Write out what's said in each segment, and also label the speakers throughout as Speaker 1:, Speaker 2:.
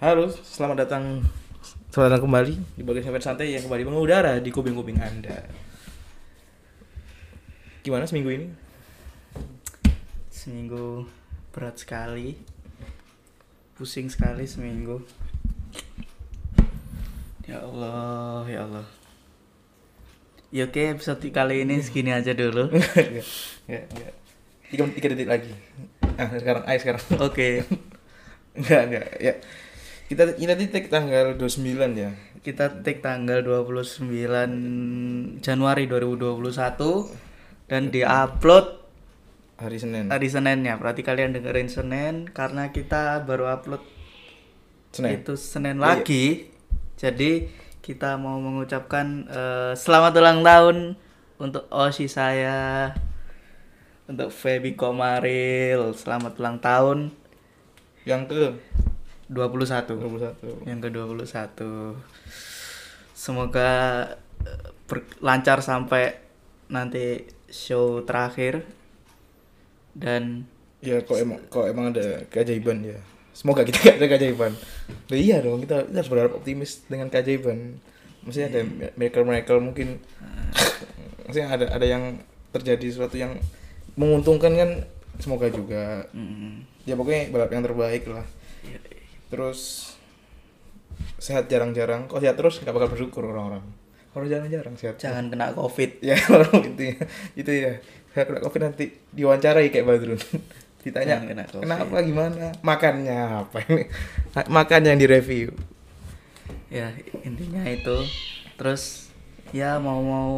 Speaker 1: Halo, selamat datang selamat datang kembali di bagian Sampai Santai yang kembali mengudara di kuping-kuping Anda. Gimana seminggu ini?
Speaker 2: Seminggu berat sekali. Pusing sekali seminggu. Ya Allah, ya Allah. Ya oke, episode kali ini segini aja dulu.
Speaker 1: Enggak, enggak, enggak. Tiga, tiga detik lagi. Ah, sekarang, ayo sekarang.
Speaker 2: Oke,
Speaker 1: Enggak, enggak. Ya. Kita ini nanti take tanggal 29 ya.
Speaker 2: kita take tanggal 29 Januari 2021 dan di-upload
Speaker 1: Hari Senin.
Speaker 2: hari Seninnya. Berarti kalian dengerin Senin karena kita baru upload
Speaker 1: Senin.
Speaker 2: itu Senin
Speaker 1: Iya.
Speaker 2: lagi. Jadi kita mau mengucapkan eh, selamat ulang tahun untuk Osi saya, untuk Feby Komaril, selamat ulang tahun
Speaker 1: Yang ke
Speaker 2: 21.
Speaker 1: 21.
Speaker 2: Yang ke-21. Semoga eh, ber- lancar sampai nanti show terakhir dan
Speaker 1: Ya kok emang kok emang ada keajaiban ya. Semoga kita gak ada keajaiban. Nah, iya dong, kita, kita harus berharap optimis dengan keajaiban. Maksudnya ada miracle-miracle mungkin. Maksudnya ada ada yang terjadi sesuatu yang menguntungkan kan semoga juga.
Speaker 2: mm,
Speaker 1: Ya pokoknya balap yang terbaik lah. Terus sehat jarang-jarang. Kok sehat terus nggak bakal bersyukur orang-orang. Orang jarang-jarang sehat.
Speaker 2: jangan kena covid.
Speaker 1: Ya orang itu ya. Itu ya. Saya kena covid nanti diwawancarai kayak Badrun. Ditanya
Speaker 2: Jangan kena COVID.
Speaker 1: kenapa gimana? Makannya apa ini? Makan yang direview.
Speaker 2: ya intinya itu terus ya mau mau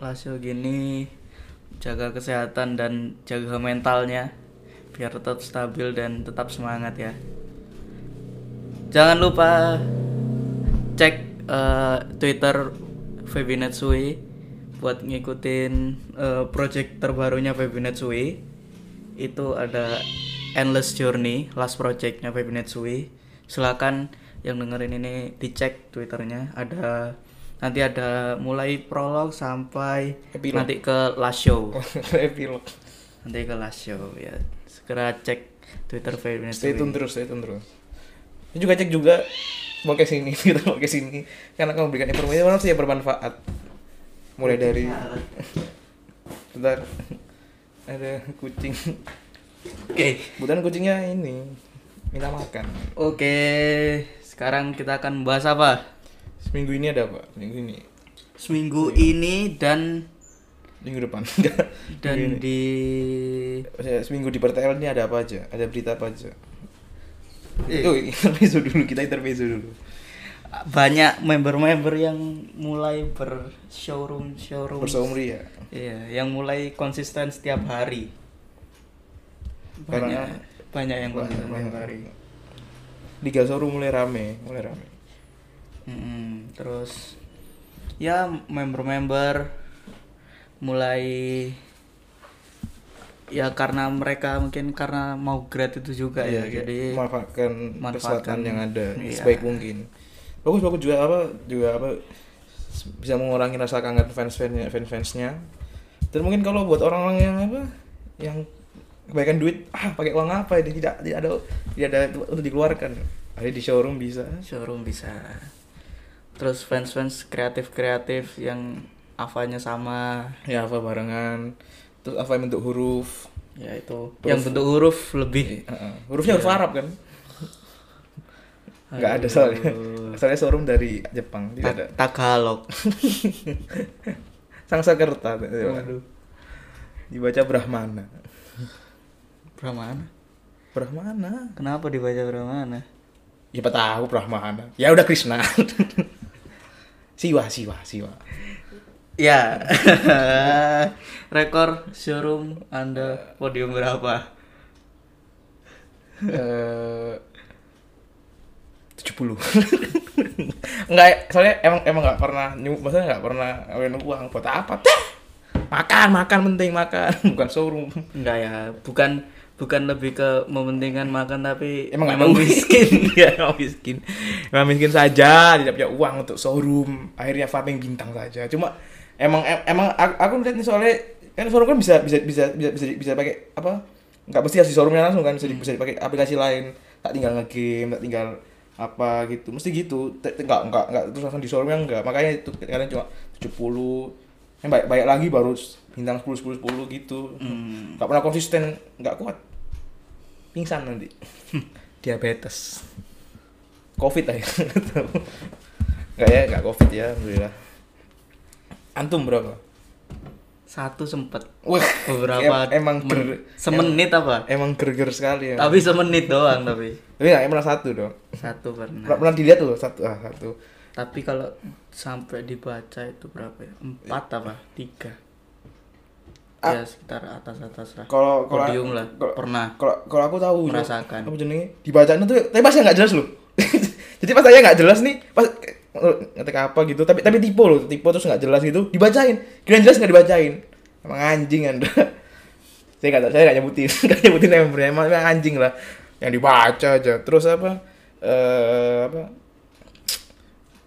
Speaker 2: lasio gini jaga kesehatan dan jaga mentalnya biar tetap stabil dan tetap semangat ya jangan lupa cek eh, twitter Feby Natsui buat ngikutin eh, project terbarunya Feby Natsui itu ada Endless Journey last projectnya Feby Natsui silakan yang dengerin ini dicek twitternya ada nanti ada mulai prolog sampai
Speaker 1: Epilog.
Speaker 2: nanti ke last show
Speaker 1: Epilog.
Speaker 2: nanti ke last show ya segera cek Twitter Feby
Speaker 1: Stay
Speaker 2: Natsui
Speaker 1: tune terus, stay tune terus. Ini juga cek juga mau ke sini, kita mau ke sini karena kamu berikan informasi mana sih yang bermanfaat. Mulai dari Bentar. Ada kucing.
Speaker 2: Oke.
Speaker 1: Kebetulan kucingnya ini minta makan.
Speaker 2: Oke, sekarang kita akan membahas apa?
Speaker 1: Seminggu ini ada apa? Minggu ini.
Speaker 2: Seminggu ini dan
Speaker 1: Minggu depan. Enggak.
Speaker 2: dan di
Speaker 1: Maksudnya Seminggu di PTL ini ada apa aja? Ada berita apa aja?
Speaker 2: Eh.
Speaker 1: Itu intermezzo dulu, kita intermezzo dulu.
Speaker 2: banyak member-member yang mulai ber showroom showroom.
Speaker 1: Bersaumri ya.
Speaker 2: Iya, yang mulai konsisten setiap hari. Banyak
Speaker 1: Karena-
Speaker 2: banyak yang konsisten
Speaker 1: Banyak.
Speaker 2: setiap hari.
Speaker 1: Liga Soru mulai rame, mulai rame.
Speaker 2: Mm-mm, terus ya member-member mulai ya karena mereka mungkin karena mau grad itu juga ya,
Speaker 1: kayak
Speaker 2: jadi
Speaker 1: memanfaatkan kesempatan
Speaker 2: manfaatkan,
Speaker 1: yang ada
Speaker 2: iya.
Speaker 1: sebaik mungkin. Bagus bagus juga apa juga apa s- bisa mengurangi rasa kangen fans-fansnya fans-fansnya. Dan mungkin kalau buat orang-orang yang apa yang kebaikan duit ah pakai uang apa ini tidak tidak ada tidak ada untuk dikeluarkan. Ada di showroom bisa.
Speaker 2: showroom bisa terus fans-fans kreatif-kreatif yang avanya sama
Speaker 1: Ya apa barengan. Terus apa yang bentuk huruf?
Speaker 2: ya itu
Speaker 1: Huruf-
Speaker 2: yang bentuk huruf lebih
Speaker 1: Eh, eh, Hurufnya huruf Arab kan? Enggak ada
Speaker 2: Iya. Aduh.
Speaker 1: soalnya. Soalnya showroom dari Jepang, tidak ada.
Speaker 2: Ta- Tagalog
Speaker 1: Sangsakerta.
Speaker 2: Waduh.
Speaker 1: Dibaca Brahmana.
Speaker 2: Brahmana
Speaker 1: Brahmana.
Speaker 2: kenapa dibaca Brahmana
Speaker 1: Siapa tahu Brahmana. Ya udah Krishna. siwa, siwa, siwa.
Speaker 2: Ya, rekor showroom Anda podium berapa?
Speaker 1: Tujuh puluh. Enggak, soalnya emang emang nggak pernah nyu, maksudnya nggak pernah ngawin uang buat apa? Teh! Makan, makan penting makan, bukan showroom.
Speaker 2: Enggak ya, bukan bukan lebih ke mementingkan makan tapi
Speaker 1: Emang nggak mau?
Speaker 2: miskin
Speaker 1: ya emang miskin emang miskin saja tidak punya uang untuk showroom akhirnya farming bintang saja cuma emang em- emang aku, aku ngeliat nih soalnya kan showroom kan bisa bisa bisa bisa bisa, bisa pakai apa nggak mesti harus di showroomnya langsung kan bisa di- bisa dipakai aplikasi lain tak tinggal ngegame tak tinggal apa gitu mesti gitu Te- te- nggak nggak nggak terus langsung disorongnya nggak makanya itu kadang cuma 70 yang baik baik lagi baru s- bintang 10 10 10 gitu
Speaker 2: Hmm,
Speaker 1: nggak pernah konsisten nggak kuat pingsan nanti diabetes covid aja nggak ya nggak covid ya alhamdulillah antum berapa
Speaker 2: Satu sempet
Speaker 1: Wah,
Speaker 2: beberapa
Speaker 1: em- emang
Speaker 2: men-
Speaker 1: ger-
Speaker 2: semenit apa?
Speaker 1: emang gerger sekali ya
Speaker 2: Tapi semenit doang tapi.
Speaker 1: tapi nggak pernah satu dong
Speaker 2: Satu
Speaker 1: pernah,
Speaker 2: pernah.
Speaker 1: pernah dilihat loh satu ah satu
Speaker 2: Tapi kalau sampai dibaca itu berapa ya? Empat apa? Tiga.
Speaker 1: Ah.
Speaker 2: Ya sekitar atas-atas lah.
Speaker 1: kalau kalau
Speaker 2: Podium lah.
Speaker 1: kalau-
Speaker 2: Pernah.
Speaker 1: kalau kalau aku tahu Jo.
Speaker 2: Merasakan.
Speaker 1: apa jenenge dibacanya tuh tapi pas nggak jelas loh jadi pas saya nggak jelas nih pas ngetik apa gitu tapi tapi tipe loh tipe terus nggak jelas gitu dibacain kira jelas nggak dibacain emang anjing anda saya nggak tahu, saya nggak nyebutin nggak nyebutin member emang emang anjing lah yang dibaca aja terus apa eh apa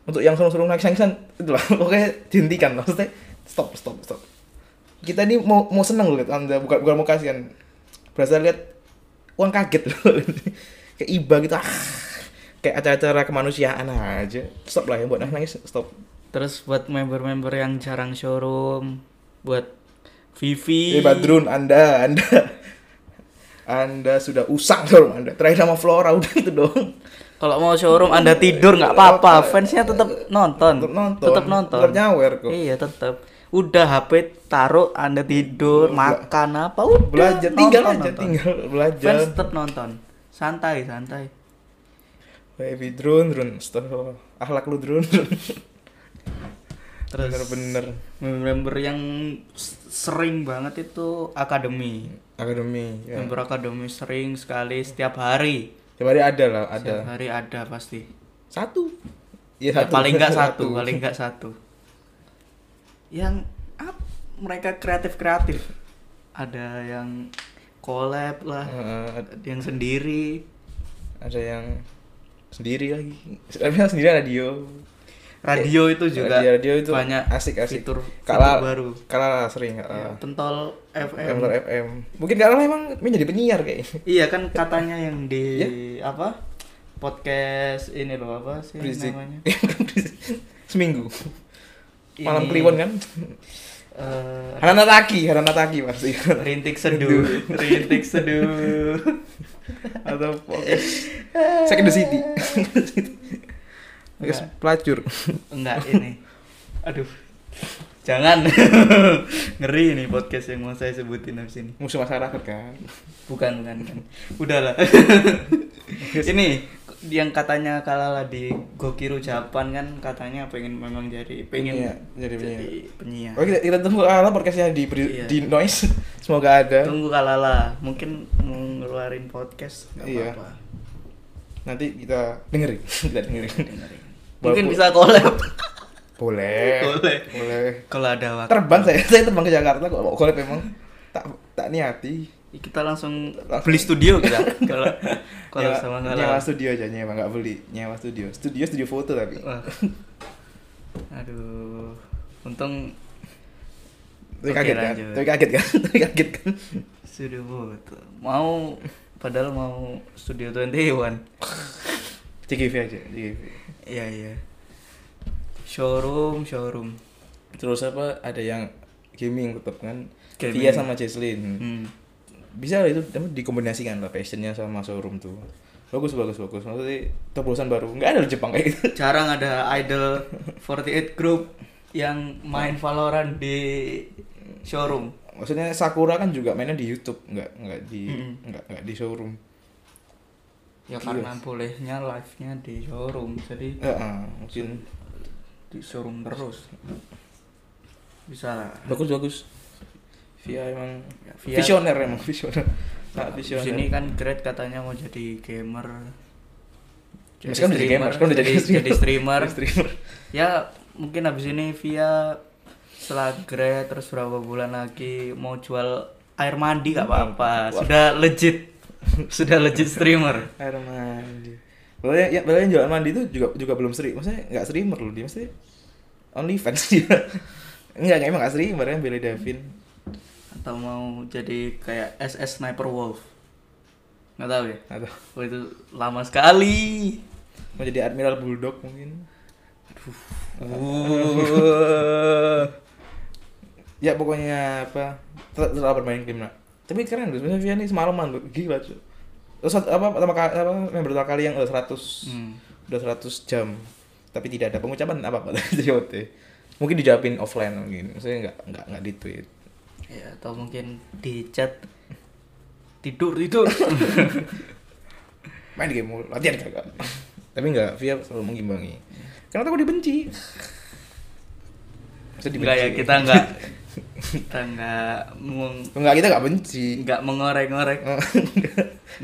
Speaker 1: untuk yang suruh-suruh nangis-nangisan itulah pokoknya dihentikan maksudnya stop stop stop kita ini mau mau seneng loh lihat anda bukan bukan mau kasihan berasa lihat uang kaget loh kayak iba gitu ah. kayak acara-acara kemanusiaan aja stop lah ya buat nangis stop
Speaker 2: Terus buat member-member yang jarang showroom, buat
Speaker 1: eh
Speaker 2: Vivi,
Speaker 1: Badrun anda anda anda sudah usang dong anda terakhir sama Flora udah itu dong
Speaker 2: Kalau mau showroom Anda tidur nggak apa-apa, fansnya tetap nonton.
Speaker 1: tetap Iya, nonton
Speaker 2: Tetap nonton.
Speaker 1: tetap nyawer kok
Speaker 2: Iya, tetap. Udah HP taruh Anda tidur, makan apa udah.
Speaker 1: Iya. belajar tinggal
Speaker 2: nonton,
Speaker 1: aja
Speaker 2: nonton.
Speaker 1: tinggal belajar
Speaker 2: Fans tetap nonton. Santai, santai.
Speaker 1: Baby drone, drone, stop. Akhlak lu drone, drone.
Speaker 2: Terus
Speaker 1: Bener-bener.
Speaker 2: member yang s- sering banget itu akademi.
Speaker 1: Akademi. Ya.
Speaker 2: Member akademi sering sekali setiap hari.
Speaker 1: Tiap hari ada lah, ada.
Speaker 2: Setiap hari ada pasti.
Speaker 1: Satu. Iya
Speaker 2: Ya, paling nggak satu, paling nggak satu. Yang ap- mereka kreatif kreatif. Ada yang collab lah,
Speaker 1: Heeh,
Speaker 2: ada yang sendiri.
Speaker 1: ada yang sendiri lagi. Tapi yang sendiri radio.
Speaker 2: Radio itu juga
Speaker 1: Eh, radio, radio itu
Speaker 2: banyak
Speaker 1: asik asik.
Speaker 2: fitur,
Speaker 1: kalah Ah.
Speaker 2: fitur baru.
Speaker 1: Kalah sering.
Speaker 2: Ya,
Speaker 1: Kalah.
Speaker 2: pentol FM.
Speaker 1: FM. FM. Mungkin kalah emang menjadi penyiar kayaknya.
Speaker 2: Iya kan katanya yang di
Speaker 1: Iya.
Speaker 2: apa podcast ini loh apa sih
Speaker 1: Berisik.
Speaker 2: namanya?
Speaker 1: Iya, Seminggu.
Speaker 2: Ini,
Speaker 1: Malam Kliwon kan?
Speaker 2: eh,
Speaker 1: Harana Taki, Harana Taki pasti.
Speaker 2: rintik seduh, rintik seduh.
Speaker 1: atau podcast Second the City Podcast
Speaker 2: Enggak.
Speaker 1: pelacur
Speaker 2: Enggak ini. Aduh. Jangan. Ngeri ini podcast yang mau saya sebutin habis ini.
Speaker 1: musuh masyarakat kan
Speaker 2: Bukan, bukan. bukan. Udahlah. ini yang katanya kalah di Gokiru Japan kan katanya pengen memang jadi pengen
Speaker 1: Iya, jadi penyiar.
Speaker 2: penyiar.
Speaker 1: oke kita, kita tunggu ala podcastnya di beri-
Speaker 2: Iya.
Speaker 1: di noise semoga ada
Speaker 2: Tunggu Kalala, mungkin mau ngeluarin podcast nggak
Speaker 1: Iya.
Speaker 2: apa-apa.
Speaker 1: nanti kita dengerin kita dengerin
Speaker 2: Dengerin. Mungkin
Speaker 1: Walaupun-
Speaker 2: bisa collab.
Speaker 1: boleh
Speaker 2: Boleh.
Speaker 1: boleh
Speaker 2: Kalau ada waktu.
Speaker 1: terbang saya saya terbang ke Jakarta kok mau kolab memang tak tak niati
Speaker 2: Kita langsung
Speaker 1: Langsung.
Speaker 2: beli studio kita. Kalau kalau
Speaker 1: Nyewa-
Speaker 2: sama
Speaker 1: nyewa
Speaker 2: Kalala.
Speaker 1: studio aja nyewa nggak beli nyewa studio studio studio foto tapi
Speaker 2: Wah. Aduh. Untung
Speaker 1: tapi
Speaker 2: Oke,
Speaker 1: kaget kan
Speaker 2: lanjut.
Speaker 1: tapi kaget kan tapi kaget kan
Speaker 2: studio foto. Mau padahal mau studio 21.
Speaker 1: CGV aja CGV
Speaker 2: Iya, iya. Showroom, showroom.
Speaker 1: terus apa ada yang gaming tetap kan
Speaker 2: Gaming.
Speaker 1: Via sama Jesslyn
Speaker 2: Hmm.
Speaker 1: bisa lah itu tapi dikombinasikan lah passionnya sama showroom tuh bagus bagus bagus maksudnya terobosan baru nggak ada di Jepang kayak gitu
Speaker 2: jarang ada idol 48 group yang main Valorant di showroom.
Speaker 1: maksudnya Sakura kan juga mainnya di YouTube nggak nggak di
Speaker 2: Mm-mm.
Speaker 1: nggak nggak di showroom
Speaker 2: Ya karena bolehnya live-nya di showroom. Jadi
Speaker 1: Eh, eh, mungkin
Speaker 2: di showroom terus. Bisa lah.
Speaker 1: bagus bagus Via emang
Speaker 2: Ya, Via-
Speaker 1: visioner emang visioner nah,
Speaker 2: Di
Speaker 1: visioner
Speaker 2: sini kan Great katanya mau jadi gamer.
Speaker 1: Sekarang udah kan jadi gamer, sekarang udah jadi streamer.
Speaker 2: jadi streamer.
Speaker 1: Jadi streamer.
Speaker 2: Ya mungkin habis ini via setelah Great terus berapa bulan lagi mau jual air mandi gak apa-apa. Sudah legit. Sudah legit streamer.
Speaker 1: air mandi Padahal yang, padahal yang ya, jualan mandi itu juga juga belum seri maksudnya nggak streamer loh dia mesti only fans dia nggak nggak, emang nggak streamer kan Billy Davin
Speaker 2: atau mau jadi kayak SS Sniper Wolf nggak tahu ya
Speaker 1: atau
Speaker 2: oh, itu lama sekali
Speaker 1: mau jadi Admiral Bulldog mungkin
Speaker 2: Uh.
Speaker 1: ya pokoknya apa tetap, tetap bermain game lah tapi keren loh sebenarnya Vianney semalaman loh gila cuy terus satu- apa pertama kali apa member pertama kali yang udah 100
Speaker 2: Hmm.
Speaker 1: udah 100 jam tapi tidak ada pengucapan apa apa dari JOT mungkin dijawabin offline mungkin maksudnya nggak nggak nggak di tweet
Speaker 2: ya atau mungkin di chat tidur tidur
Speaker 1: main game mulu latihan kagak tapi nggak Via selalu mengimbangi karena aku dibenci Maksudnya
Speaker 2: enggak ya kita nggak kita nggak meng
Speaker 1: nggak kita nggak benci
Speaker 2: nggak mengorek-ngorek
Speaker 1: Nggak.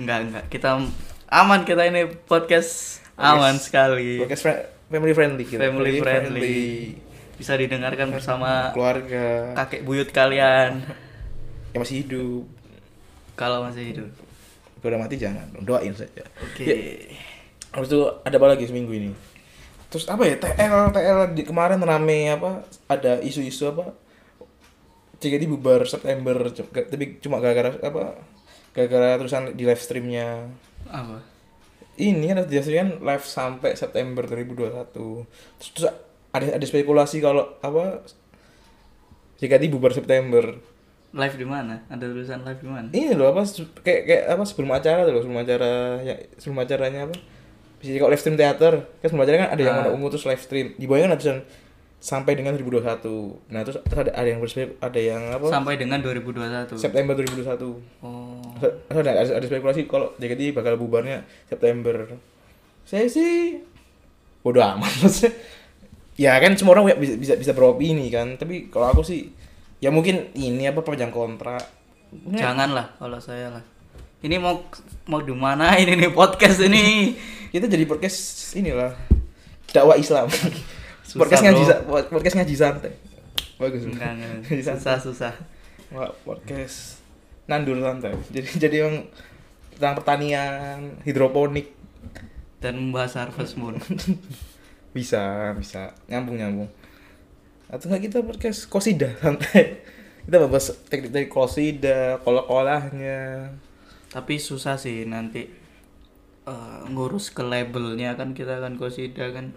Speaker 2: nggak nggak kita aman kita ini podcast aman sekali
Speaker 1: Podcast fri- family friendly gitu.
Speaker 2: family friendly bisa didengarkan bersama
Speaker 1: Keluarga
Speaker 2: kakek buyut kalian
Speaker 1: yang masih hidup.
Speaker 2: kalau masih hidup
Speaker 1: Kalau udah mati jangan dong, doain saja.
Speaker 2: oke
Speaker 1: Ya, habis itu ada apa lagi seminggu ini? Terus apa ya? TL TL di, kemarin rame apa? Ada isu-isu apa? CGD bubar September cu- ga- tapi cuma gara-gara apa? Gara-gara terusan di live streamnya
Speaker 2: apa
Speaker 1: ini ada dihasilkan live sampai September 2021 terus, terus ada ada spekulasi kalau apa JKT bubar September
Speaker 2: live di mana ada tulisan live di mana
Speaker 1: ini loh apa se- kayak kayak apa sebelum acara tuh loh sebelum acara ya sebelum acaranya apa bisa jadi kalau live stream teater kan sebelum acara kan ada yang
Speaker 2: Ah.
Speaker 1: warna ungu terus live stream di bawahnya kan ada tulisan, sampai dengan 2021 nah terus, terus ada, ada yang berspek ada yang apa eh.
Speaker 2: sampai dengan 2021
Speaker 1: September 2021
Speaker 2: oh
Speaker 1: Terus ada, ada, ada spekulasi kalau JKT bakal bubarnya September. Saya sih bodo amat maksudnya. Ya kan semua orang bisa bisa, bisa beropini kan, tapi kalau aku sih ya mungkin ini apa panjang kontrak. Ya,
Speaker 2: janganlah kalau saya lah ini mau mau di mana ini nih podcast ini
Speaker 1: Kita jadi podcast inilah dakwah Islam.
Speaker 2: Susah,
Speaker 1: podcast ngaji
Speaker 2: bro.
Speaker 1: sa- podcast ngaji santai. Bagus.
Speaker 2: Enggak, enggak, enggak.
Speaker 1: Ngaji santai.
Speaker 2: susah susah
Speaker 1: Wah, podcast nandur santai. Jadi jadi yang tentang pertanian, hidroponik,
Speaker 2: dan membahas harvest moon
Speaker 1: bisa bisa nyambung nyambung atau nggak kita podcast kosida santai kita bahas teknik dari kosida kolak kolahnya
Speaker 2: tapi susah sih nanti eh, ngurus ke labelnya kan kita kan kosida kan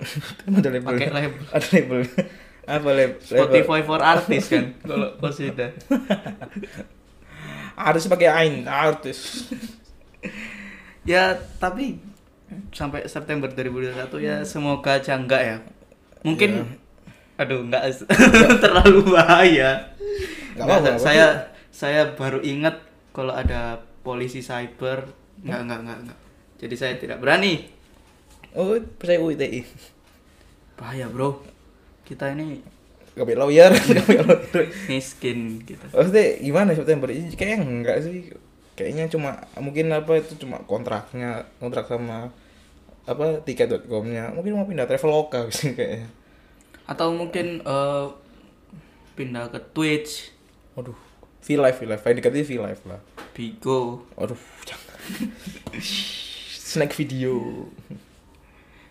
Speaker 1: Emang ada label
Speaker 2: Pakai label.
Speaker 1: ada label apa lab label
Speaker 2: Spotify for artist kan kalau kosida
Speaker 1: harus pakai ain artis
Speaker 2: ya tapi sampai September 2021 ya
Speaker 1: Hmm.
Speaker 2: semoga aja enggak ya mungkin
Speaker 1: Iya.
Speaker 2: aduh enggak terlalu bahaya
Speaker 1: Enggak
Speaker 2: Enggak,
Speaker 1: apa-apa,
Speaker 2: saya saya baru ingat kalau ada polisi cyber enggak enggak enggak enggak jadi saya tidak berani
Speaker 1: oh percaya UITI
Speaker 2: bahaya bro kita ini
Speaker 1: gak punya lawyer gak punya lawyer
Speaker 2: miskin gitu. kita
Speaker 1: maksudnya gimana September ini kayaknya enggak sih kayaknya cuma mungkin apa itu cuma kontraknya kontrak sama apa tiket.com-nya mungkin mau pindah traveloka sih kayaknya
Speaker 2: atau mungkin eh, pindah ke Twitch
Speaker 1: Waduh, V Live, V Live, paling dekatnya V Live lah.
Speaker 2: Bigo
Speaker 1: Waduh, jangan. Snack video.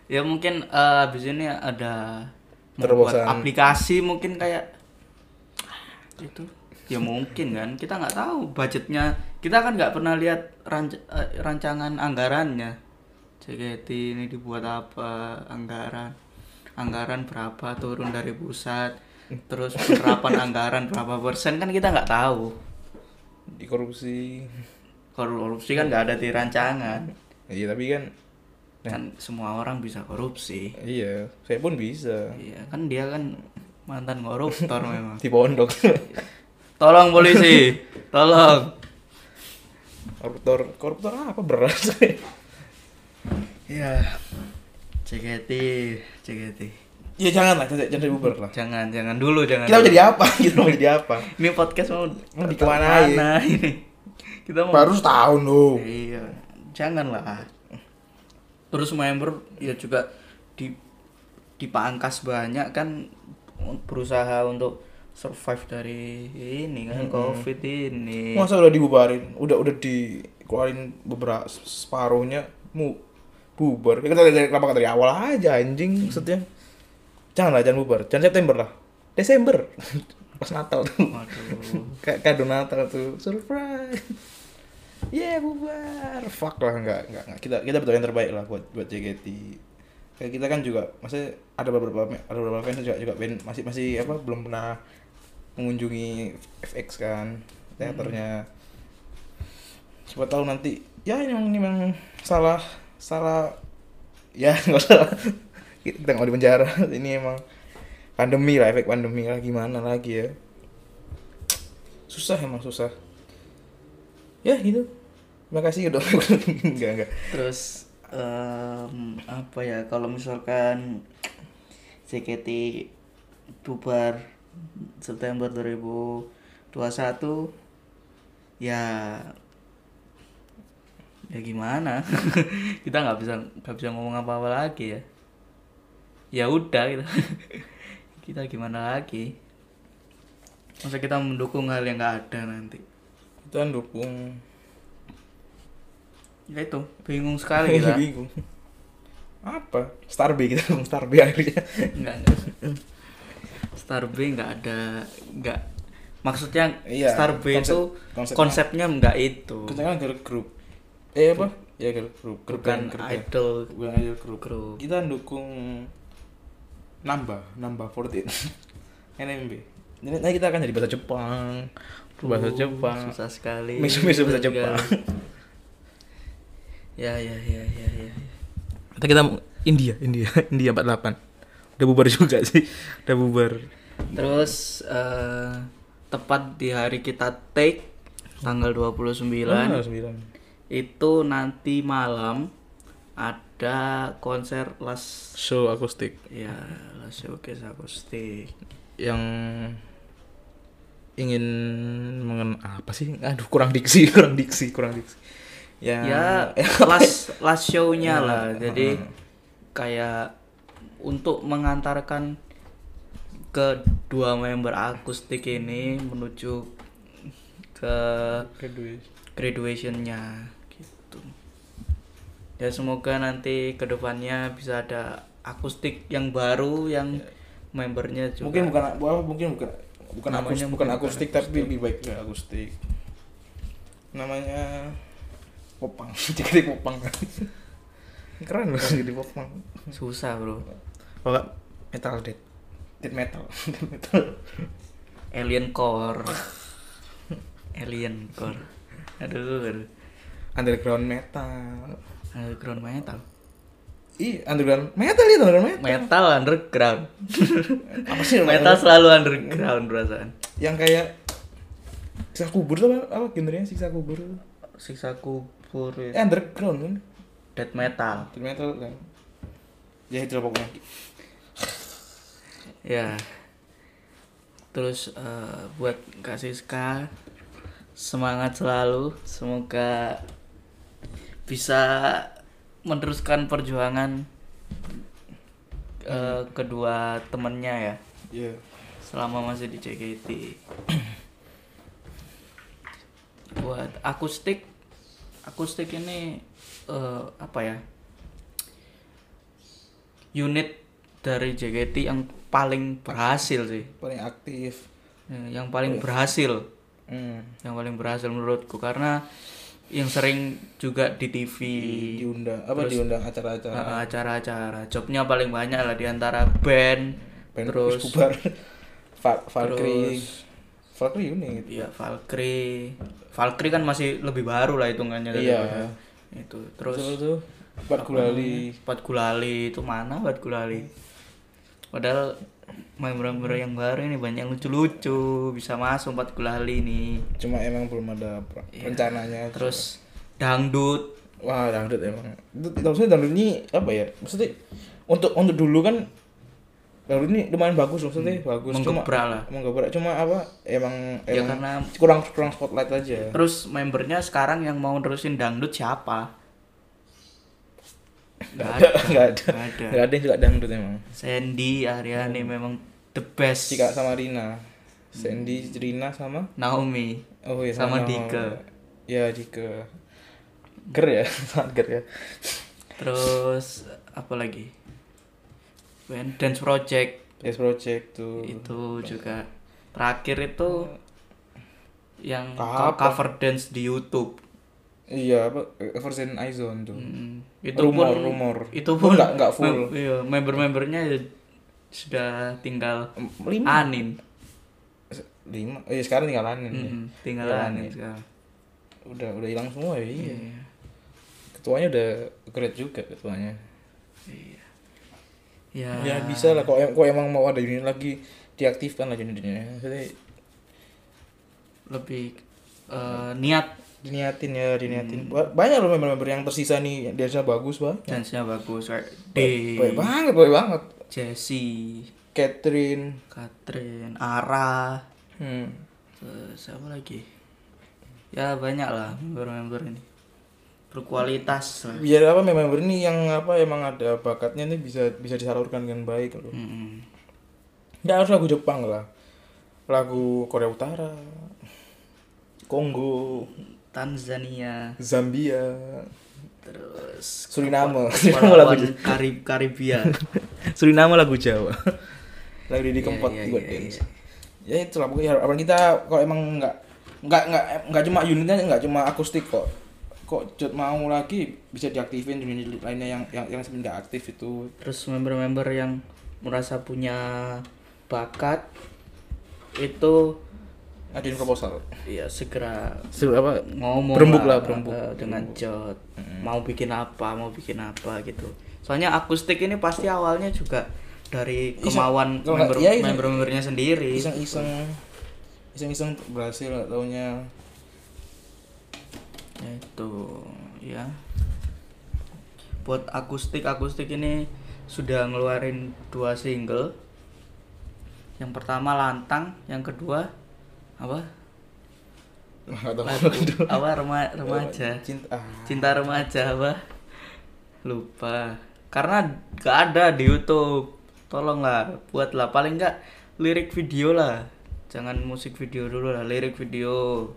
Speaker 2: ya mungkin eh, habis ini ada membuat
Speaker 1: Terobosan.
Speaker 2: aplikasi mungkin kayak itu ya mungkin kan kita nggak tahu budgetnya kita kan nggak pernah lihat ranc- eh, rancangan anggarannya JKT ini dibuat apa anggaran anggaran berapa turun dari pusat terus penerapan anggaran berapa persen kan kita nggak tahu
Speaker 1: Di korupsi.
Speaker 2: korupsi kan nggak ada di rancangan
Speaker 1: Iya, tapi kan
Speaker 2: kan semua orang bisa korupsi
Speaker 1: iya, saya pun bisa.
Speaker 2: Iya kan dia kan mantan koruptor memang.
Speaker 1: Di pondok.
Speaker 2: Tolong polisi, tolong.
Speaker 1: koruptor, koruptor apa beras?
Speaker 2: Iya. JKT, JKT.
Speaker 1: ya jangan lah, jangan, jangan bubar lah.
Speaker 2: Jangan, jangan dulu, jangan.
Speaker 1: Kita mau
Speaker 2: dulu.
Speaker 1: jadi apa? Kita mau jadi apa?
Speaker 2: Ini podcast mau
Speaker 1: Mau
Speaker 2: tetap
Speaker 1: dikemanain?
Speaker 2: mana ini? Kita mau.
Speaker 1: Baru setahun loh.
Speaker 2: Iya, janganlah. Terus member ya juga di dipangkas banyak kan berusaha untuk survive dari ini kan covid ini.
Speaker 1: Masa udah dibubarin? Udah udah dikeluarin beberapa separuhnya mu bubar. Ya, Kita dari kenapa nggak dari awal aja anjing maksudnya. Jangan lah, jangan bubar. Jangan September lah. Desember. Pas Natal tuh.
Speaker 2: Waduh.
Speaker 1: Kayak kado Natal tuh. Surprise. Yeah, bubar. Fuck lah nggak nggak nggak. Kita kita betul yang terbaik lah buat buat JKT. kayak kita kan juga maksudnya ada beberapa ada beberapa fans juga juga band masih masih apa belum pernah mengunjungi FX kan teaternya siapa tahu nanti ya ini memang ini memang salah salah ya nggak salah kita nggak di penjara ini emang pandemi lah efek pandemi lah gimana lagi ya susah emang susah ya gitu terima kasih udah enggak enggak
Speaker 2: Terus em, apa ya kalau misalkan JKT bubar September 2021 ya ya gimana kita nggak bisa nggak bisa ngomong apa apa lagi ya ya udah gitu kita gimana lagi masa kita mendukung hal yang nggak ada nanti
Speaker 1: kita dukung
Speaker 2: ya itu bingung sekali kita
Speaker 1: bingung apa Starby kita dukung Starby akhirnya
Speaker 2: Enggak, enggak. Starbey enggak ada enggak maksudnya
Speaker 1: Iya,
Speaker 2: Starbey
Speaker 1: konsep-
Speaker 2: itu
Speaker 1: konsepnya-
Speaker 2: konsepnya enggak itu.
Speaker 1: kita kan girl group eh apa ya girl group Girl
Speaker 2: Bukan
Speaker 1: band, girl band.
Speaker 2: idol
Speaker 1: bukan idol group
Speaker 2: group.
Speaker 1: kita dukung nambah nambah 14 NMB Nanti nanti nah, kita akan jadi bahasa Jepang bahasa
Speaker 2: Uh,
Speaker 1: Jepang
Speaker 2: Susah sekali.
Speaker 1: Misu-misu bahasa
Speaker 2: Juga.
Speaker 1: Jepang.
Speaker 2: Ya ya ya ya ya.
Speaker 1: kita kita mau- India India India 48 udah bubar juga sih udah bubar
Speaker 2: Terus eh, tepat di hari kita take tanggal 29
Speaker 1: Ah, sembilan
Speaker 2: itu nanti malam ada konser Las
Speaker 1: show akustik
Speaker 2: ya Las Showcase Akustik.
Speaker 1: yang ingin mengen apa sih aduh kurang diksi kurang diksi kurang diksi eh, yang
Speaker 2: ya last last show-nya
Speaker 1: Ya,
Speaker 2: lah
Speaker 1: heeh.
Speaker 2: jadi kayak untuk mengantarkan kedua member akustik ini menuju ke graduation-nya gitu ya semoga nanti kedepannya bisa ada akustik yang baru yang membernya juga
Speaker 1: Ya. mungkin bukan apa mungkin bukan bukan
Speaker 2: Namanya
Speaker 1: akustik,
Speaker 2: mungkin
Speaker 1: bukan
Speaker 2: bukan
Speaker 1: akustik tapi lebih baik ke akustik namanya popang jadi popang keren loh jadi popang
Speaker 2: susah bro
Speaker 1: kalau nggak, metal dead dead metal dead metal
Speaker 2: alien core alien core aduh, aduh.
Speaker 1: underground metal
Speaker 2: underground metal
Speaker 1: ih underground metal itu underground metal
Speaker 2: metal underground
Speaker 1: apa sih
Speaker 2: metal selalu underground perasaan
Speaker 1: yang kayak siksa kubur tuh apa, apa genrenya siksa kubur tuh
Speaker 2: siksa kubur
Speaker 1: eh, underground kan
Speaker 2: death metal
Speaker 1: dead metal kan ya itu lah pokoknya
Speaker 2: ya terus eh, buat kak Siska semangat selalu semoga bisa meneruskan perjuangan eh, kedua temennya ya
Speaker 1: Iya.
Speaker 2: selama masih di JKT buat akustik akustik ini eh, apa ya unit dari JKT yang paling berhasil sih
Speaker 1: paling aktif
Speaker 2: Eh, yang paling berhasil
Speaker 1: hmm.
Speaker 2: yang paling berhasil menurutku karena yang sering juga di TV
Speaker 1: diundang apa diundang acara-acara
Speaker 2: eh, acara-acara jobnya paling banyak lah di antara band,
Speaker 1: Band
Speaker 2: terus
Speaker 1: bubar Fa- Valkyrie Valkyrie unit
Speaker 2: Iya, Valkyrie. Valkyrie kan masih lebih baru lah hitungannya daripada
Speaker 1: Iya.
Speaker 2: Itu. Terus
Speaker 1: Terus tuh Bat Gulali
Speaker 2: Pat Gulali itu mana Pat Gulali? Padahal member-member yang baru ini banyak yang lucu-lucu, bisa masuk Pat Gulali ini.
Speaker 1: cuma emang belum ada pra- rencananya
Speaker 2: Iya. Terus dangdut
Speaker 1: wah dangdut emang itu itu maksudnya dangdut ini apa ya maksudnya untuk untuk dulu kan dangdut ini lumayan bagus maksudnya bagus
Speaker 2: menggebrak lah.
Speaker 1: cuma menggebrak cuma apa emang
Speaker 2: Hmm. Ya,
Speaker 1: emang
Speaker 2: karena-
Speaker 1: kurang kurang spotlight aja
Speaker 2: Terus membernya sekarang yang mau nerusin dangdut siapa? Nggak ada.
Speaker 1: nggak ada
Speaker 2: Nggak ada.
Speaker 1: nggak ada yang suka dangdut emang
Speaker 2: Sandy Aryani memang the best.
Speaker 1: Cika sama Rina Sandy Rina sama
Speaker 2: Naomi.
Speaker 1: Oh iya
Speaker 2: Sama
Speaker 1: Nao.
Speaker 2: Dike.
Speaker 1: Ya Dike. Ger ya, sangat ger ya.
Speaker 2: Terus apa lagi? Band Dance Project
Speaker 1: Yes Project tuh.
Speaker 2: itu juga terakhir itu yang
Speaker 1: Apa?
Speaker 2: cover dance di YouTube.
Speaker 1: Iya, apa version iZone tuh.
Speaker 2: Mm,
Speaker 1: Hmm. Rumor,
Speaker 2: pun-
Speaker 1: rumor.
Speaker 2: Itu
Speaker 1: Oh,
Speaker 2: pun
Speaker 1: nggak- nggak full.
Speaker 2: mem- iya, member-membernya ya sudah tinggal
Speaker 1: Em, Lima.
Speaker 2: Anin.
Speaker 1: Se- Lima. Eh sekarang tinggal Anin. ya.
Speaker 2: Mm-mm, tinggal
Speaker 1: Tinggal
Speaker 2: Anin
Speaker 1: Anin.
Speaker 2: sekarang.
Speaker 1: Udah udah hilang semua ya. Iya.
Speaker 2: Iya.
Speaker 1: Ketuanya udah great juga ketuanya.
Speaker 2: Iya. Ya.
Speaker 1: Ya bisa lah kok em- kok emang mau ada unit lagi diaktifkan lah unitnya. Jadi
Speaker 2: lebih eh, niat
Speaker 1: diniatin ya, diniatin. Ba- Banyak loh member-member yang tersisa nih, dia bagus, Bang.
Speaker 2: dance-nya bagus kayak
Speaker 1: Baik
Speaker 2: D,
Speaker 1: banget, baik banget.
Speaker 2: Jesse,
Speaker 1: Catherine,
Speaker 2: Katrin, Ara,
Speaker 1: hmm.
Speaker 2: terus siapa lagi? Ya banyak lah member-member ini berkualitas lah.
Speaker 1: biar apa member ini yang apa emang ada bakatnya ini bisa bisa disalurkan dengan baik loh
Speaker 2: Mm-mm.
Speaker 1: nggak harus lagu Jepang lah lagu Korea Utara Kongo
Speaker 2: Tanzania,
Speaker 1: Zambia
Speaker 2: terus
Speaker 1: Suriname Suriname lagu
Speaker 2: Kepulauan Karib Karibia.
Speaker 1: Suriname lagu Jawa lagu di
Speaker 2: Iya,
Speaker 1: Kempot
Speaker 2: iya,
Speaker 1: buat
Speaker 2: iya,
Speaker 1: dance ya itulah pokoknya apa kita kalau emang nggak nggak nggak nggak cuma unitnya nggak cuma akustik kok kok cut mau lagi bisa diaktifin unit lainnya yang yang yang sebenarnya nggak aktif itu
Speaker 2: Terus member-member yang merasa punya bakat itu
Speaker 1: ajuin proposal
Speaker 2: ya segera
Speaker 1: apa
Speaker 2: ngomong
Speaker 1: Berembuk lah, berembuk.
Speaker 2: eh, dengan jod mau bikin apa mau bikin apa gitu soalnya akustik ini pasti awalnya juga dari kemauan
Speaker 1: kalau nggak-
Speaker 2: member,
Speaker 1: iya, iseng.
Speaker 2: member-membernya sendiri
Speaker 1: iseng-iseng iseng-iseng berhasil gak taunya
Speaker 2: itu ya buat akustik akustik ini sudah ngeluarin dua single yang pertama lantang yang kedua apa
Speaker 1: nggak tahu
Speaker 2: apa rema- remaja
Speaker 1: cinta ah,
Speaker 2: cinta remaja apa lupa karena gak ada di YouTube tolonglah buatlah paling nggak lirik video lah jangan musik video dulu lah lirik video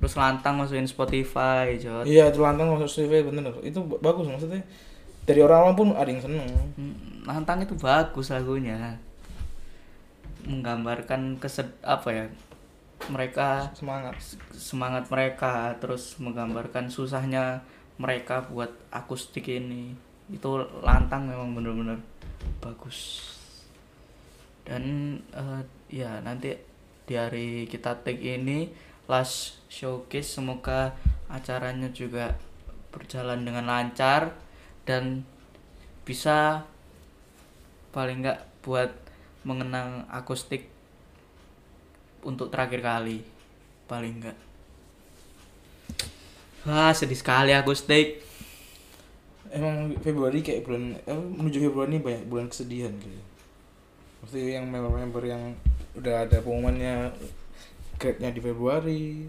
Speaker 2: terus lantang masukin Spotify Jod
Speaker 1: iya itu lantang masuk CV bener itu ba- bagus maksudnya dari orang-orang pun ada yang seneng
Speaker 2: Mm, lantang itu bagus lagunya menggambarkan kesed apa ya mereka
Speaker 1: semangat
Speaker 2: semangat mereka terus menggambarkan susahnya mereka buat akustik ini itu lantang memang bener-bener bagus dan eh, ya nanti di hari kita take ini last showcase semoga acaranya juga berjalan dengan lancar dan bisa paling nggak buat mengenang akustik untuk terakhir kali paling enggak wah sedih sekali aku steak
Speaker 1: emang Februari kayak bulan eh, menuju Februari ini banyak bulan kesedihan gitu maksudnya yang member-member yang udah ada pengumumannya grade-nya di Februari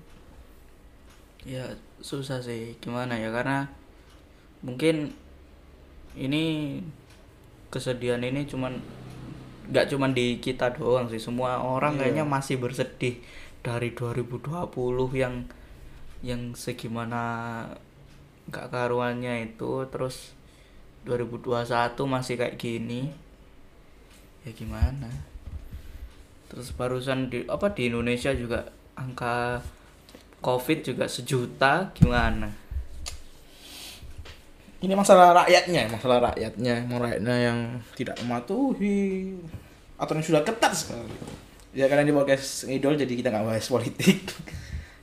Speaker 2: ya susah sih gimana ya karena mungkin ini kesedihan ini cuman nggak cuman di kita doang sih semua orang
Speaker 1: Iya.
Speaker 2: kayaknya masih bersedih dari 2020 yang yang segimana nggak karuannya itu terus 2021 masih kayak gini ya gimana terus barusan di apa di Indonesia juga angka covid juga sejuta gimana
Speaker 1: ini masalah rakyatnya masalah rakyatnya emang rakyatnya yang tidak mematuhi aturan yang sudah ketat sekali ya karena di podcast idol jadi kita nggak bahas politik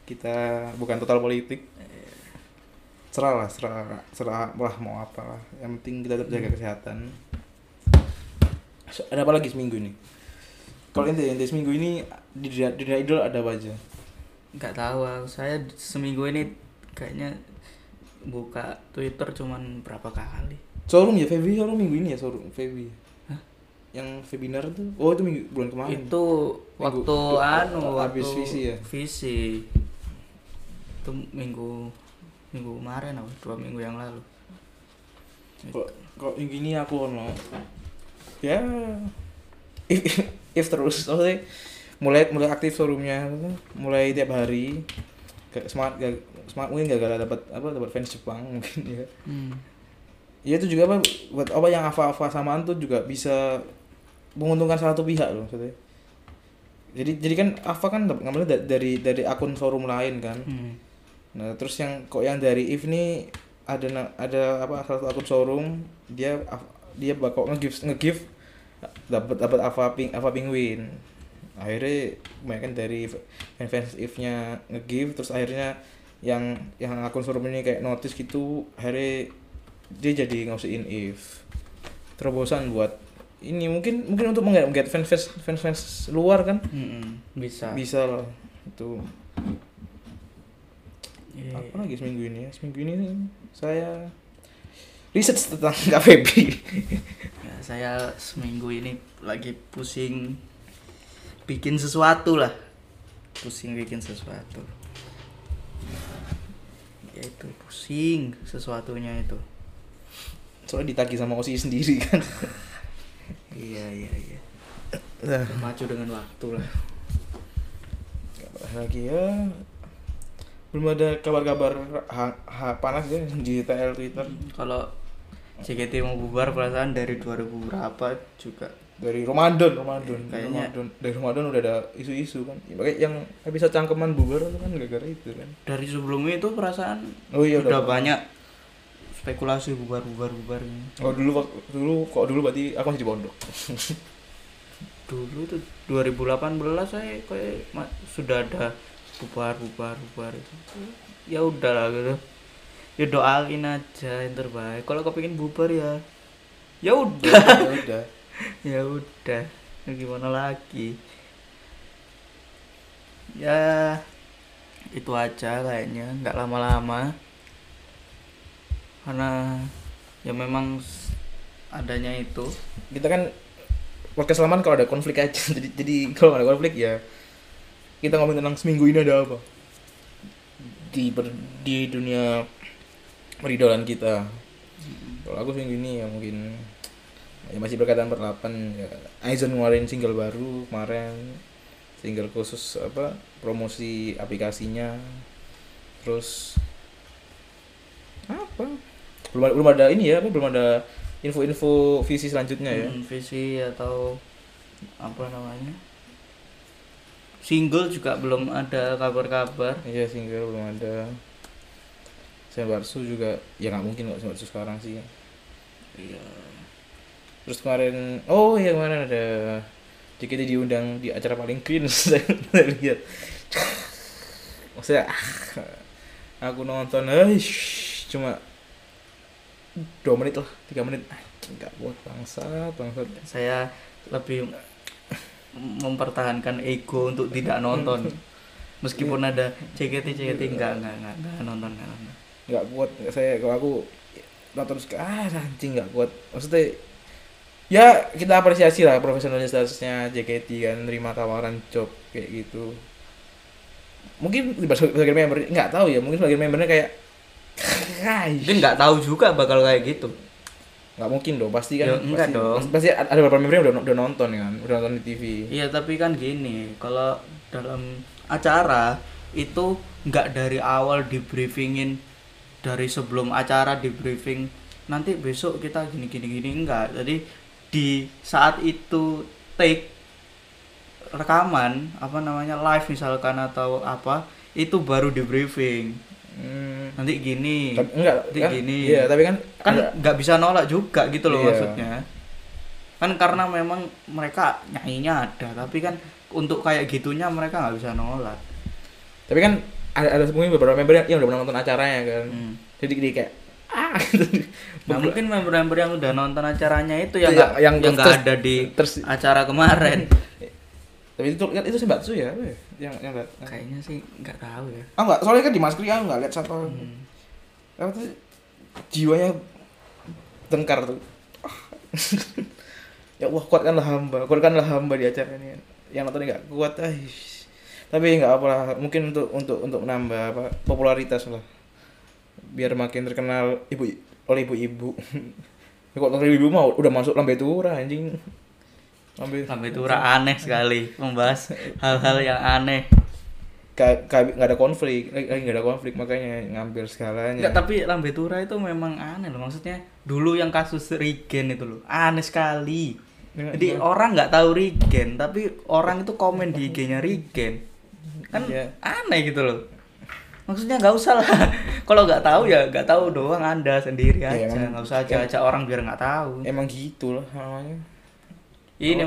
Speaker 1: kita bukan total politik serah lah serah serah lah mau apa lah yang penting kita tetap jaga kesehatan So, ada apa lagi seminggu ini kalau inti inti seminggu ini di dunia, di dunia idol ada apa aja
Speaker 2: nggak tahu aku. saya seminggu ini kayaknya buka Twitter cuman berapa kali
Speaker 1: showroom ya Februari showroom minggu ini ya showroom Februari yang webinar tuh oh itu minggu bulan kemarin
Speaker 2: itu waktu
Speaker 1: Minggu-
Speaker 2: anu
Speaker 1: habis
Speaker 2: waktu
Speaker 1: visi ya?
Speaker 2: visi itu minggu minggu kemarin apa dua minggu yang lalu
Speaker 1: kok kok yang gini aku ono ya if, if, if terus maksudnya mulai mulai aktif showroomnya mulai tiap hari Gak- semangat gak, semangat mungkin gak gara dapat apa dapat fans Jepang mungkin ya
Speaker 2: Hmm.
Speaker 1: ya itu juga apa buat apa yang apa-apa samaan tuh juga bisa menguntungkan salah satu pihak loh maksudnya jadi jadi kan Ava kan dap- ngambilnya da- dari dari akun showroom lain kan
Speaker 2: Hmm.
Speaker 1: Nah, terus yang kok yang dari If ini ada na- ada apa satu akun showroom dia af- dia bakal nge-gift nge-gift dapat dapat Ava Ping Ava Penguin. Akhirnya kebanyakan dari fans fans If-nya nge-gift terus akhirnya yang yang akun showroom ini kayak notice gitu akhirnya dia jadi ngausin If. Terobosan buat ini mungkin mungkin untuk mengga- mengget fans fans fans fans luar kan
Speaker 2: Mm-mm, bisa.
Speaker 1: bisa lah itu
Speaker 2: Iya,
Speaker 1: apa
Speaker 2: iya.
Speaker 1: lagi seminggu ini ya? Seminggu ini saya riset tentang KPB.
Speaker 2: Ya, saya seminggu ini lagi pusing bikin sesuatu lah. Pusing bikin sesuatu. Ya itu pusing sesuatunya itu.
Speaker 1: Soalnya ditagi sama Osi sendiri kan.
Speaker 2: Iya iya iya.
Speaker 1: Nah,
Speaker 2: Maju dengan waktu lah.
Speaker 1: kabar lagi ya. Belum ada kabar-kabar ha- ha- panas ya di TL Twitter
Speaker 2: Kalau JKT mau bubar perasaan dari 2000 berapa juga
Speaker 1: dari Ramadan, Ramadan,
Speaker 2: Kayaknya-
Speaker 1: Ramadan. Dari Ramadan udah ada isu-isu kan. Ya, pakai yang bisa cangkeman bubar itu kan gara-gara itu kan.
Speaker 2: dari sebelumnya itu perasaan
Speaker 1: Oh iya
Speaker 2: udah banyak spekulasi bubar bubar bubar ini.
Speaker 1: Oh dulu wak- dulu kok dulu berarti aku masih di pondok.
Speaker 2: dulu tuh 2018 saya kayak ma- sudah ada bubar bubar bubar itu ya udah lah gitu ya doain aja yang terbaik kalau kau pengen bubar ya ya udah
Speaker 1: ya udah.
Speaker 2: ya udah ya gimana lagi ya itu aja kayaknya nggak lama-lama karena ya memang s- adanya itu
Speaker 1: kita kan podcast laman kalau ada konflik aja jadi jadi kalau nggak ada konflik ya kita ngomongin tentang seminggu ini ada apa di per- di dunia peridolan kita kalau aku seminggu ini ya mungkin ya masih berkaitan perlapan ya Aizen ngeluarin single baru kemarin single khusus apa promosi aplikasinya terus apa belum ada, belum ada ini ya apa belum ada info-info visi selanjutnya ya
Speaker 2: Hmm, visi atau apa namanya single juga belum ada kabar-kabar
Speaker 1: Iya single belum ada. Senbatsu juga ya nggak mungkin kok Senbatsu sekarang sih.
Speaker 2: iya
Speaker 1: Terus kemarin oh iya kemarin ada JKT diundang di acara paling cringe saya saya lihat. Maksudnya ah, aku nonton eish, cuma dua menit lah tiga menit anjing nggak buat bangsat bangsat
Speaker 2: saya lebih mempertahankan ego untuk tidak nonton meskipun ada JKT JKT enggak enggak enggak, enggak nonton enggak nonton
Speaker 1: nggak kuat saya kalau aku nonton suka ah anjing nggak kuat maksudnya ya kita apresiasi lah profesionalitasnya JKT kan nerima tawaran job kayak gitu mungkin sebagai member nggak tahu ya mungkin sebagai membernya kayak
Speaker 2: mungkin nggak tahu juga bakal kayak gitu
Speaker 1: nggak mungkin dong pasti kan
Speaker 2: Ya, enggak
Speaker 1: pasti,
Speaker 2: dong.
Speaker 1: pasti ada beberapa member yang udah, udah nonton kan udah nonton di TV
Speaker 2: iya tapi kan gini kalau dalam acara itu nggak dari awal di briefingin dari sebelum acara di briefing nanti besok kita gini gini gini enggak jadi di saat itu take rekaman apa namanya live misalkan atau apa itu baru di briefing
Speaker 1: hmm,
Speaker 2: nanti gini
Speaker 1: tapi enggak
Speaker 2: nanti
Speaker 1: kan
Speaker 2: gini.
Speaker 1: iya tapi kan
Speaker 2: kan nggak bisa nolak juga gitu loh
Speaker 1: Iya.
Speaker 2: maksudnya kan karena memang mereka nyanyinya ada tapi kan untuk kayak gitunya mereka nggak bisa nolak
Speaker 1: tapi kan ada, ada mungkin beberapa member yang, yang udah pernah nonton acaranya kan
Speaker 2: Hmm.
Speaker 1: jadi dia kayak ah gitu.
Speaker 2: nah mungkin member-member yang udah nonton acaranya itu
Speaker 1: Iya,
Speaker 2: yang nggak yang
Speaker 1: yang-
Speaker 2: nggak
Speaker 1: terus-
Speaker 2: ada di
Speaker 1: terus-
Speaker 2: acara kemarin
Speaker 1: tapi itu kan itu Senbatsu ya apa ya? yang yang dat-
Speaker 2: kayaknya sih nggak tahu ya
Speaker 1: ah enggak soalnya kan di masker aku enggak lihat satu apa tuh jiwanya tengkar tuh ya wah kuatkanlah hamba kuatkanlah hamba di acara ini yang nonton enggak kuat ah ish. tapi enggak apalah mungkin untuk untuk untuk menambah apa popularitas lah biar makin terkenal ibu oleh ibu-ibu Ya, kok terkenal ibu-ibu mau udah masuk lambe tura anjing lambe
Speaker 2: sampai itu ora Hmm. aneh sekali membahas hal-hal yang aneh
Speaker 1: kayak kayak nggak ada konflik lagi lagi nggak ada konflik makanya ngambil segalanya
Speaker 2: Nggak, tapi Lambe Tura itu memang aneh loh maksudnya dulu yang kasus Rigen itu loh aneh sekali
Speaker 1: Ya, iya.
Speaker 2: jadi orang nggak tahu Rigen tapi orang itu komen di IG-nya Rigen kan
Speaker 1: Iya.
Speaker 2: aneh gitu loh maksudnya nggak usah lah kalau nggak tahu ya nggak tahu doang anda sendiri
Speaker 1: Ya,
Speaker 2: aja
Speaker 1: emang-
Speaker 2: nggak usah acak-acak orang biar nggak tahu
Speaker 1: Emang gitu lah namanya.
Speaker 2: ini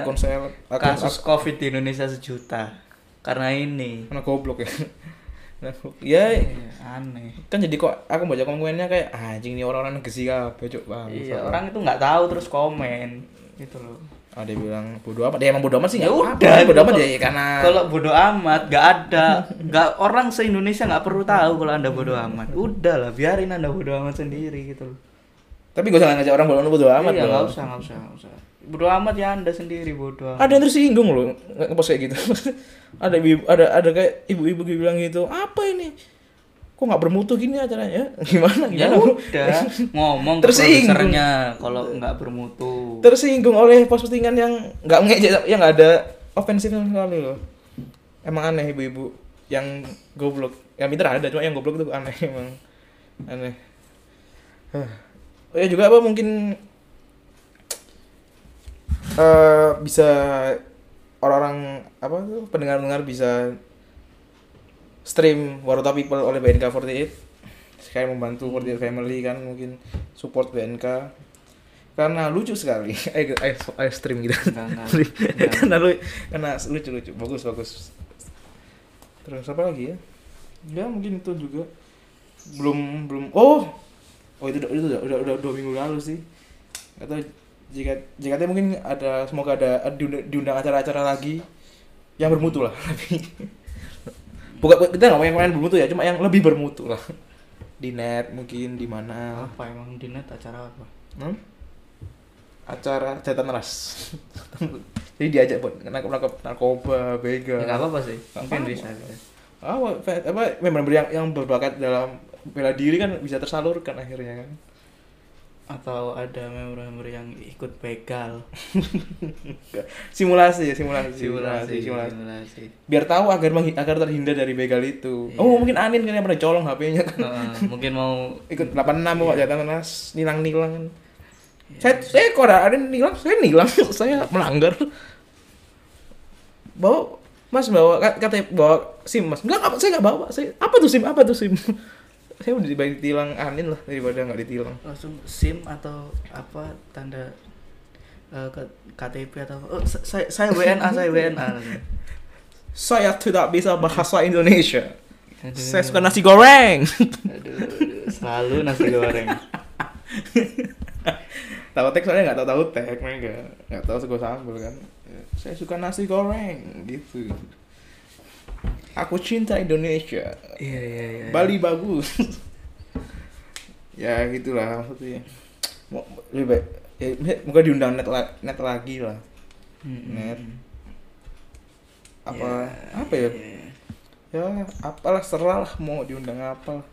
Speaker 1: Oh, Akun saya akun
Speaker 2: kasus covid di Indonesia sejuta karena ini
Speaker 1: mana goblok ya. Nah, ya
Speaker 2: Iya, aneh
Speaker 1: kan jadi kok aku baca komennya kayak "Ah, anjing nih orang-orang negesi kabeh cuk bang.
Speaker 2: iya orang itu nggak tahu terus komen gitu loh
Speaker 1: Ada yang bilang bodo amat, ya emang bodo amat sih
Speaker 2: ya
Speaker 1: nggak apa-apa.
Speaker 2: udah
Speaker 1: bodo amat
Speaker 2: kalau-
Speaker 1: ya ya karena
Speaker 2: kalau bodoh amat nggak ada nggak orang se Indonesia nggak perlu tahu kalau anda bodoh amat udah lah biarin anda bodoh amat sendiri gitu loh
Speaker 1: tapi gue jangan ngajak orang bodo amat bodo amat
Speaker 2: iya
Speaker 1: dong.
Speaker 2: nggak usah nggak usah nggak usah bodoh amat ya anda sendiri bodoh amat
Speaker 1: Ada yang tersinggung loh nge- ngepost kayak gitu. ada ibu- ada ada kayak ibu-ibu gitu bilang gitu, "Apa ini? Kok nggak bermutu gini acaranya? Gimana
Speaker 2: ya
Speaker 1: gimana?" bro?"
Speaker 2: udah ngomong ke
Speaker 1: Tersinggung.
Speaker 2: produsernya kalau nggak bermutu
Speaker 1: tersinggung oleh post postingan yang nggak ngejek yang nggak ada ofensifnya sama sekali loh emang aneh ibu-ibu yang goblok yang pinter ada cuma yang goblok tuh aneh emang aneh Hah. oh ya juga apa mungkin eh bisa orang-orang apa tuh pendengar-pendengar bisa stream Waruta People oleh BNK48 kayak membantu 48 Family kan mungkin support BNK karena lucu sekali ayo, ayo, ayo stream gitu
Speaker 2: Enggak, enggak.
Speaker 1: karena lu karena lucu lucu bagus bagus terus apa lagi ya ya mungkin itu juga belum belum oh oh itu udah itu udah udah, udah dua minggu lalu sih atau jika jika mungkin ada semoga ada diundang, diundang acara-acara lagi yang bermutu lah tapi bukan kita nggak mau yang lain bermutu ya cuma yang lebih bermutu lah di net mungkin di mana
Speaker 2: Ya apa emang di net acara apa
Speaker 1: Hmm? acara catatan ras jadi diajak buat nangkep nangkep narkoba
Speaker 2: ya
Speaker 1: begal
Speaker 2: nggak apa-apa sih
Speaker 1: Nggak
Speaker 2: mungkin
Speaker 1: apa-apa.
Speaker 2: bisa bisa.
Speaker 1: apa fe- apa member yang yang berbakat dalam bela diri kan bisa tersalurkan akhirnya kan
Speaker 2: atau ada member-member yang ikut begal
Speaker 1: simulasi ya simulasi
Speaker 2: simulasi
Speaker 1: simulasi.
Speaker 2: simulasi
Speaker 1: biar tahu agar menghi- agar terhindar dari begal itu
Speaker 2: Iya.
Speaker 1: oh mungkin Anin kan yang pernah colong HP-nya kan
Speaker 2: Heeh, mungkin mau
Speaker 1: ikut 86 kok catatan ras nilang nilang kan saya saya kok ada ada yang nilang saya nilang saya melanggar bawa mas bawa ka- kata bawa sim mas enggak apa saya nggak bawa saya apa tuh sim apa tuh sim saya udah dibalik tilang anin lah daripada nggak ditilang
Speaker 2: langsung SIM atau apa tanda eh, ke- KTP atau apa. Oh, sa- saya saya WNA, saya WNA.
Speaker 1: saya tidak bisa bahasa Indonesia
Speaker 2: Aduh.
Speaker 1: saya suka nasi goreng
Speaker 2: Aduh, aduh, selalu nasi goreng.
Speaker 1: tahu teks soalnya nggak tahu tahu teks mereka nggak tahu sego sambal kan Ya, saya suka nasi goreng gitu aku cinta Indonesia
Speaker 2: Iya, iya, iya.
Speaker 1: Bali bagus ya gitulah maksudnya mau lebih baik ya, moga diundang net, la- net lagi lah Net.
Speaker 2: Iya,
Speaker 1: apa apa ya ya apalah serah lah mau diundang apa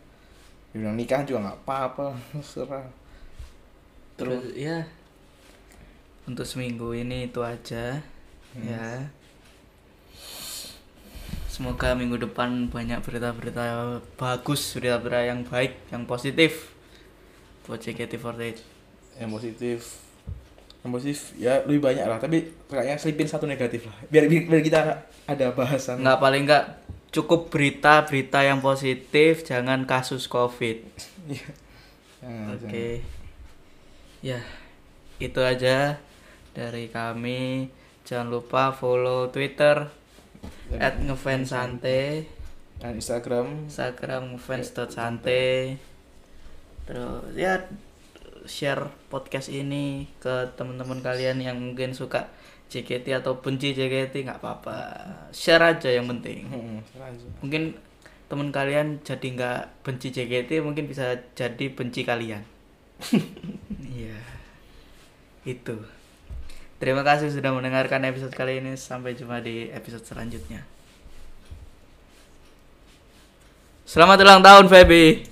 Speaker 1: diundang nikah juga nggak apa-apa serah
Speaker 2: Terus ya untuk seminggu ini itu aja
Speaker 1: Hmm.
Speaker 2: ya. Semoga minggu depan banyak berita-berita bagus, berita-berita yang baik, yang positif buat JKT48.
Speaker 1: yang positif yang positif ya lebih banyak lah tapi kayaknya selipin satu negatif lah biar biar kita ada bahasan
Speaker 2: Nggak paling nggak cukup berita-berita yang positif, jangan kasus COVID.
Speaker 1: Iya. Jangan,
Speaker 2: Oke.
Speaker 1: jangan.
Speaker 2: Ya, itu aja dari kami. Jangan lupa follow Twitter
Speaker 1: Dan-
Speaker 2: at ngefansantai,
Speaker 1: dan Instagram
Speaker 2: Instagram ngefans.santai. Terus ya share podcast ini ke teman-teman kalian yang mungkin suka JKT atau benci JKT nggak apa-apa. Share aja yang penting.
Speaker 1: Hmm, serah aja.
Speaker 2: Mungkin teman kalian jadi nggak benci JKT mungkin bisa jadi benci kalian. Iya. Itu. Terima kasih sudah mendengarkan episode kali ini. Sampai jumpa di episode selanjutnya. Selamat ulang tahun, Feby.